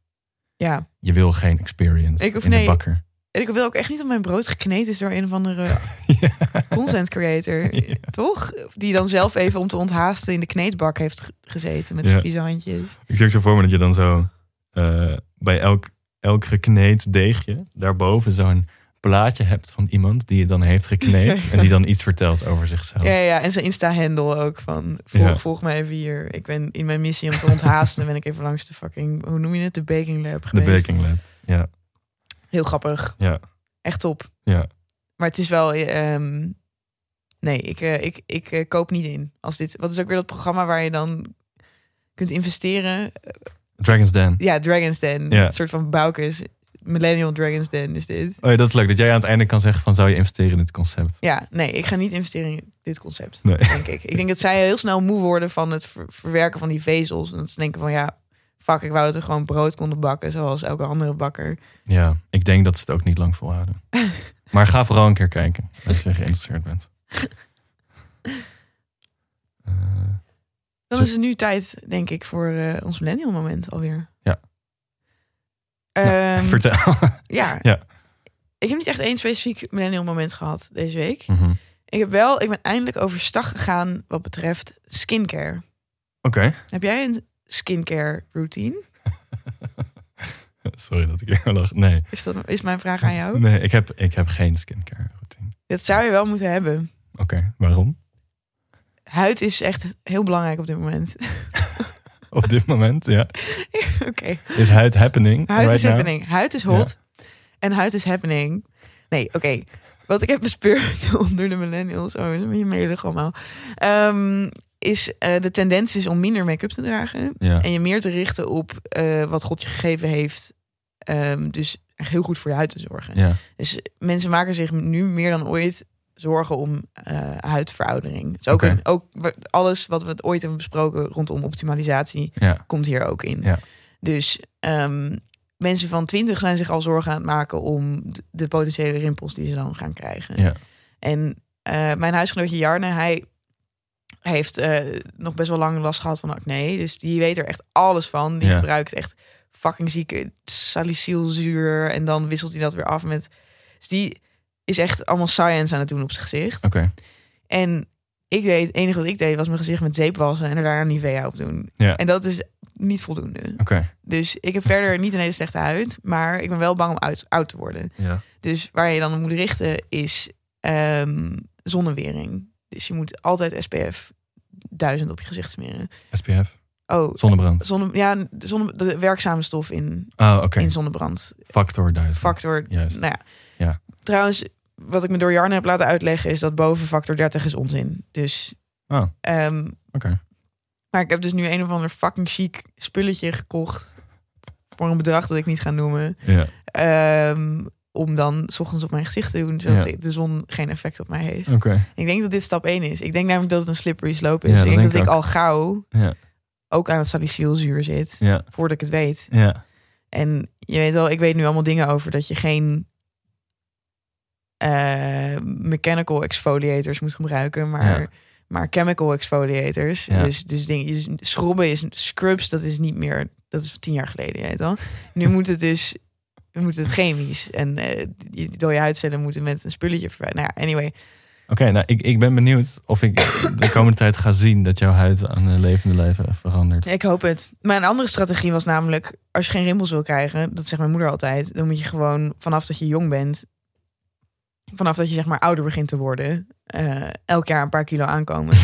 [SPEAKER 1] Ja.
[SPEAKER 2] Je wil geen experience
[SPEAKER 1] Ik hoef-
[SPEAKER 2] in
[SPEAKER 1] nee.
[SPEAKER 2] de bakker.
[SPEAKER 1] En ik wil ook echt niet dat mijn brood gekneed is door een of andere
[SPEAKER 2] Ja.
[SPEAKER 1] content creator.
[SPEAKER 2] Ja.
[SPEAKER 1] Toch? Die dan zelf even om te onthaasten in de kneedbak heeft ge- gezeten met
[SPEAKER 2] Ja.
[SPEAKER 1] vieze handjes.
[SPEAKER 2] Ik zie ook zo voor me dat je dan zo eh, bij elk, elk gekneed deegje daarboven zo'n plaatje hebt van iemand die het dan heeft gekneed. En die dan iets vertelt over zichzelf.
[SPEAKER 1] Ja, ja, en zijn Insta-handle ook van volg,
[SPEAKER 2] Ja.
[SPEAKER 1] volg mij even hier. Ik ben in mijn missie om te onthaasten ben ik even langs de fucking, hoe noem je het? De baking lab
[SPEAKER 2] De
[SPEAKER 1] geweest.
[SPEAKER 2] baking lab. Ja.
[SPEAKER 1] Heel grappig.
[SPEAKER 2] Ja.
[SPEAKER 1] Echt top.
[SPEAKER 2] Ja.
[SPEAKER 1] Maar het is wel, eh, ehm, nee, ik, eh, ik, ik eh, koop niet in. Als dit, wat is ook weer dat programma waar je dan kunt investeren
[SPEAKER 2] Dragon's Den.
[SPEAKER 1] Ja, Dragon's Den.
[SPEAKER 2] Ja.
[SPEAKER 1] Een soort van Baukes. Millennial Dragon's Den is dit.
[SPEAKER 2] Oh ja, dat is leuk. Dat jij aan het einde kan zeggen van zou je investeren in dit concept.
[SPEAKER 1] Ja, nee, ik ga niet investeren in dit concept,
[SPEAKER 2] Nee.
[SPEAKER 1] denk ik. Ik denk dat zij heel snel moe worden van het ver- verwerken van die vezels. En dat ze denken van, ja, fuck, ik wou dat we gewoon brood konden bakken, zoals elke andere bakker.
[SPEAKER 2] Ja, ik denk dat ze het ook niet lang volhouden. maar ga vooral een keer kijken als je geïnteresseerd bent. Eh,
[SPEAKER 1] Dan
[SPEAKER 2] Zo-
[SPEAKER 1] is het nu tijd, denk ik, voor eh, ons millennial moment alweer.
[SPEAKER 2] Ja.
[SPEAKER 1] Ehm,
[SPEAKER 2] vertel.
[SPEAKER 1] ja.
[SPEAKER 2] Ja.
[SPEAKER 1] Ik heb niet echt één specifiek millennial moment gehad deze week.
[SPEAKER 2] Mhm. Oké.
[SPEAKER 1] Ik heb wel, ik ben eindelijk overstag gegaan wat betreft skincare. Heb jij een skincare routine?
[SPEAKER 2] Sorry dat ik hier lag. Nee,
[SPEAKER 1] Is, dat, is mijn vraag aan jou?
[SPEAKER 2] nee ik, heb, ik heb geen skincare routine.
[SPEAKER 1] Dat zou je wel moeten hebben.
[SPEAKER 2] Oké, waarom?
[SPEAKER 1] Huid is echt heel belangrijk op dit moment.
[SPEAKER 2] Op dit moment, ja.
[SPEAKER 1] Oké.
[SPEAKER 2] Is huid happening
[SPEAKER 1] Huid
[SPEAKER 2] right
[SPEAKER 1] is
[SPEAKER 2] now?
[SPEAKER 1] happening. Huid is hot. En huid is happening. Nee, oké. Wat ik heb bespeurd onder de millennials, oh, dat ben je melig allemaal, Ehm, is eh, de tendens is om minder make-up te dragen.
[SPEAKER 2] Ja.
[SPEAKER 1] En je meer te richten op eh, wat God je gegeven heeft. Ehm, dus echt heel goed voor je huid te zorgen.
[SPEAKER 2] ja.
[SPEAKER 1] Dus mensen maken zich nu meer dan ooit zorgen om eh, huidveroudering. Dus ook,
[SPEAKER 2] Oké.
[SPEAKER 1] een- ook wa- alles wat we ooit hebben besproken rondom optimalisatie
[SPEAKER 2] Ja.
[SPEAKER 1] komt hier ook in.
[SPEAKER 2] Ja.
[SPEAKER 1] Dus ehm, mensen van 20 zijn zich al zorgen aan het maken om d- de potentiële rimpels die ze dan gaan krijgen.
[SPEAKER 2] Ja.
[SPEAKER 1] En eh, mijn huisgenootje Jarne, hij hij heeft eh, nog best wel lang last gehad van acne. Dus die weet er echt alles van. Die
[SPEAKER 2] Ja.
[SPEAKER 1] gebruikt echt fucking zieke salicylzuur. En dan wisselt hij dat weer af met... Dus die is echt allemaal science aan het doen op zijn gezicht.
[SPEAKER 2] Oké,
[SPEAKER 1] En ik deed, het enige wat ik deed was mijn gezicht met zeep wassen... en er daarna Nivea op doen.
[SPEAKER 2] Ja.
[SPEAKER 1] En dat is niet voldoende.
[SPEAKER 2] oké.
[SPEAKER 1] Dus ik heb verder niet een hele slechte huid... maar ik ben wel bang om uit- oud te worden.
[SPEAKER 2] Ja.
[SPEAKER 1] Dus waar je dan op moet richten is ehm, zonnewering. Dus je moet altijd SPF 1000 op je gezicht smeren.
[SPEAKER 2] SPF,
[SPEAKER 1] Oh,
[SPEAKER 2] zonnebrand.
[SPEAKER 1] zonne, ja, de, zonne, de werkzame stof in,
[SPEAKER 2] Oh, oké.
[SPEAKER 1] in zonnebrand.
[SPEAKER 2] Factor duizend.
[SPEAKER 1] Factor,
[SPEAKER 2] Juist.
[SPEAKER 1] nou ja.
[SPEAKER 2] Ja.
[SPEAKER 1] Trouwens, wat ik me door Jarne heb laten uitleggen... is dat boven factor 30 is onzin. Dus,
[SPEAKER 2] Oh.
[SPEAKER 1] ehm,
[SPEAKER 2] Oké.
[SPEAKER 1] Maar ik heb dus nu een of ander fucking chic spulletje gekocht... voor een bedrag dat ik niet ga noemen...
[SPEAKER 2] Ja.
[SPEAKER 1] Ehm, om dan 's ochtends op mijn gezicht te doen, zodat
[SPEAKER 2] Ja.
[SPEAKER 1] de zon geen effect op mij heeft.
[SPEAKER 2] Oké.
[SPEAKER 1] Ik denk dat dit stap 1 is. Ik denk namelijk dat het een slippery slope
[SPEAKER 2] Ja,
[SPEAKER 1] is.
[SPEAKER 2] dat
[SPEAKER 1] ik denk dat
[SPEAKER 2] denk
[SPEAKER 1] ik
[SPEAKER 2] ik
[SPEAKER 1] al gauw
[SPEAKER 2] Ja.
[SPEAKER 1] ook aan het salicylzuur zit.
[SPEAKER 2] Ja,
[SPEAKER 1] Voordat ik het weet.
[SPEAKER 2] ja,
[SPEAKER 1] En je weet wel, ik weet nu allemaal dingen over dat je geen eh, mechanical exfoliators moet gebruiken, maar,
[SPEAKER 2] Ja.
[SPEAKER 1] maar chemical exfoliators.
[SPEAKER 2] Ja.
[SPEAKER 1] Dus, dus dingen, dus schrobben is scrubs, dat is niet meer, dat is tien jaar geleden, je weet wel. Nu moet het dus, nu moet het chemisch en eh je dode huidcellen moeten met een spulletje verwijderen. Nou ja, anyway,
[SPEAKER 2] Oké, nou, ik, ik ben benieuwd of ik de komende tijd ga zien dat jouw huid aan de levende lijven verandert.
[SPEAKER 1] ik hoop het. Maar een andere strategie was namelijk, als je geen rimpels wil krijgen, dat zegt mijn moeder altijd, dan moet je gewoon vanaf dat je jong bent, vanaf dat je zeg maar ouder begint te worden, eh, elk jaar een paar kilo aankomen.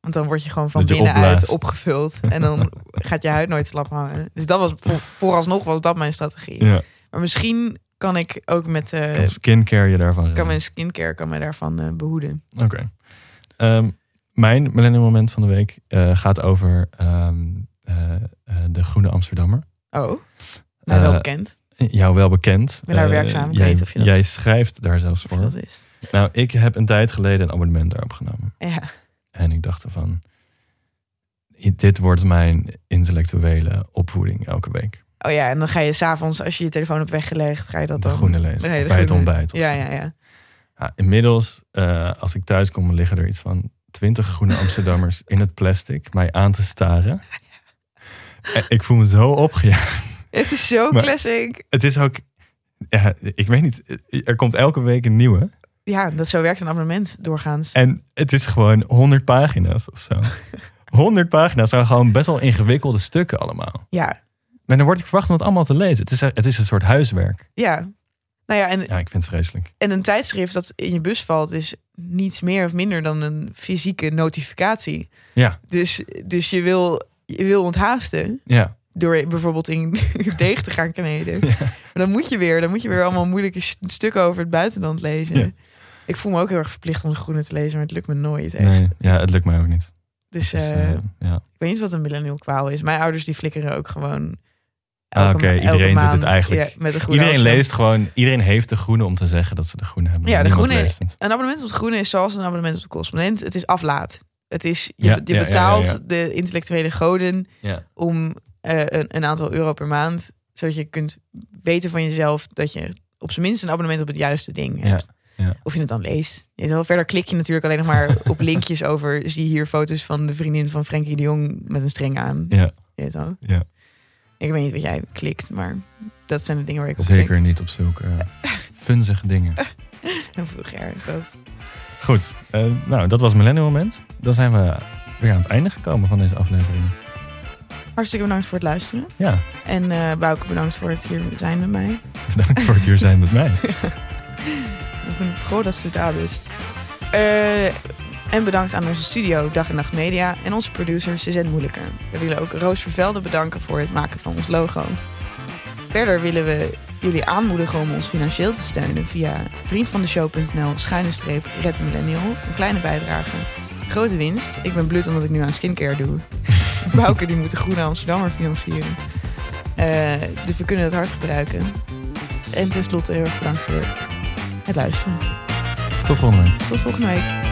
[SPEAKER 1] Want dan word je gewoon van
[SPEAKER 2] Dat je
[SPEAKER 1] binnenuit
[SPEAKER 2] opblaast.
[SPEAKER 1] opgevuld. En dan gaat je huid nooit slap hangen. Dus dat was voor- vooralsnog was dat mijn strategie.
[SPEAKER 2] Ja,
[SPEAKER 1] Maar misschien kan ik ook met eh,
[SPEAKER 2] kan skincare je daarvan
[SPEAKER 1] kan
[SPEAKER 2] redden.
[SPEAKER 1] mijn skincare kan mij daarvan eh, behoeden.
[SPEAKER 2] Oké. Ehm, mijn millennial moment van de week eh, gaat over ehm, eh, eh, de Groene Amsterdammer.
[SPEAKER 1] Oh, nou wel
[SPEAKER 2] Eh,
[SPEAKER 1] bekend.
[SPEAKER 2] Jou wel bekend.
[SPEAKER 1] ben daar
[SPEAKER 2] Eh,
[SPEAKER 1] werkzaam, ik
[SPEAKER 2] jij,
[SPEAKER 1] weet of je dat-
[SPEAKER 2] jij schrijft daar zelfs
[SPEAKER 1] Of je
[SPEAKER 2] voor.
[SPEAKER 1] dat is.
[SPEAKER 2] Nou, ik heb een tijd geleden een abonnement daarop genomen.
[SPEAKER 1] Ja,
[SPEAKER 2] En ik dacht van, dit wordt mijn intellectuele opvoeding elke week.
[SPEAKER 1] Oh ja, en dan ga je s'avonds, als je je telefoon hebt weggelegd, ga je dat
[SPEAKER 2] de
[SPEAKER 1] dan...
[SPEAKER 2] Groene lezen.
[SPEAKER 1] Nee,
[SPEAKER 2] of
[SPEAKER 1] de
[SPEAKER 2] bij het
[SPEAKER 1] groene.
[SPEAKER 2] ontbijt. of
[SPEAKER 1] Ja,
[SPEAKER 2] zo.
[SPEAKER 1] ja, ja.
[SPEAKER 2] Ja, inmiddels, eh, als ik thuis kom, liggen er iets van twintig groene Amsterdammers in het plastic mij aan te staren. En ik voel me zo opgejaagd.
[SPEAKER 1] Het is zo
[SPEAKER 2] Maar-
[SPEAKER 1] classic.
[SPEAKER 2] Het is ook, ja, ik weet niet, er komt elke week een nieuwe.
[SPEAKER 1] Ja, dat zo werkt een abonnement doorgaans.
[SPEAKER 2] En het is gewoon 100 pagina's of zo. 100 pagina's zijn gewoon best wel ingewikkelde stukken allemaal.
[SPEAKER 1] Ja,
[SPEAKER 2] Maar dan word ik verwacht om het allemaal te lezen. Het is, het is een soort huiswerk.
[SPEAKER 1] ja. Nou ja, en,
[SPEAKER 2] Ja, ik vind het vreselijk.
[SPEAKER 1] en een tijdschrift dat in je bus valt is niets meer of minder dan een fysieke notificatie.
[SPEAKER 2] Ja.
[SPEAKER 1] Dus, dus je, wil, je wil onthaasten
[SPEAKER 2] Ja,
[SPEAKER 1] door bijvoorbeeld in deeg te gaan kneden.
[SPEAKER 2] Ja.
[SPEAKER 1] Maar dan moet je weer, dan moet je weer allemaal moeilijke s- stukken over het buitenland lezen.
[SPEAKER 2] Ja.
[SPEAKER 1] Ik voel me ook heel erg verplicht om de groene te lezen, maar het lukt me nooit echt.
[SPEAKER 2] nee, ja het lukt mij ook niet.
[SPEAKER 1] Dus
[SPEAKER 2] Het is,
[SPEAKER 1] eh,
[SPEAKER 2] eh, ja.
[SPEAKER 1] ik weet niet wat een millennial kwaal is. Mijn ouders die flikkeren ook gewoon.
[SPEAKER 2] Ah,
[SPEAKER 1] elke
[SPEAKER 2] oké,
[SPEAKER 1] ma-
[SPEAKER 2] iedereen
[SPEAKER 1] elke
[SPEAKER 2] doet het
[SPEAKER 1] maand,
[SPEAKER 2] eigenlijk.
[SPEAKER 1] ja, met de groene
[SPEAKER 2] Iedereen
[SPEAKER 1] afslag.
[SPEAKER 2] leest gewoon, iedereen heeft de groene om te zeggen dat ze de groene hebben.
[SPEAKER 1] Ja,
[SPEAKER 2] Maar
[SPEAKER 1] de
[SPEAKER 2] niemand
[SPEAKER 1] groene-
[SPEAKER 2] leest het.
[SPEAKER 1] Een abonnement op de Groene is zoals een abonnement op de correspondent. Het is aflaat. Het is, je,
[SPEAKER 2] Ja,
[SPEAKER 1] je
[SPEAKER 2] ja, ja,
[SPEAKER 1] betaalt
[SPEAKER 2] ja, ja.
[SPEAKER 1] de intellectuele goden
[SPEAKER 2] Ja.
[SPEAKER 1] om eh, een, een aantal euro per maand. Zodat je kunt weten van jezelf dat je op zijn minst een abonnement op het juiste ding
[SPEAKER 2] Ja,
[SPEAKER 1] hebt.
[SPEAKER 2] ja.
[SPEAKER 1] Of je het dan leest. Je weet wel, verder klik je natuurlijk alleen nog maar op linkjes over. Zie hier foto's van de vriendin van Frenkie de Jong met een streng aan.
[SPEAKER 2] Ja.
[SPEAKER 1] Je weet wel.
[SPEAKER 2] Ja.
[SPEAKER 1] Ik weet niet wat jij klikt, maar dat zijn de dingen waar ik op
[SPEAKER 2] Zeker niet op zulke eh, funzige dingen.
[SPEAKER 1] klik. Heel vulgair is dat.
[SPEAKER 2] Goed, eh, nou dat was Millennial Moment. Dan zijn we weer aan het einde gekomen van deze aflevering.
[SPEAKER 1] Hartstikke bedankt voor het luisteren.
[SPEAKER 2] Ja,
[SPEAKER 1] En eh Bouke, bedankt voor het hier zijn met mij.
[SPEAKER 2] bedankt voor het hier zijn met mij.
[SPEAKER 1] Ik vind het goed dat ze daar is. Eh, en bedankt aan onze studio Dag en Nacht Media en onze producer Suzanne Moeilijker. We willen ook Roos Vervelde bedanken voor het maken van ons logo. Verder willen we jullie aanmoedigen om ons financieel te steunen via vriendvandeshow.nl schuine streep Red de Millennial. Een kleine bijdrage. Grote winst. Ik ben blut omdat ik nu aan skincare doe. Bouke die moet de Groene Amsterdammer financieren. Eh, dus we kunnen het hard gebruiken. En tenslotte heel erg bedankt voor het luisteren.
[SPEAKER 2] Tot volgende week.
[SPEAKER 1] Tot volgende week.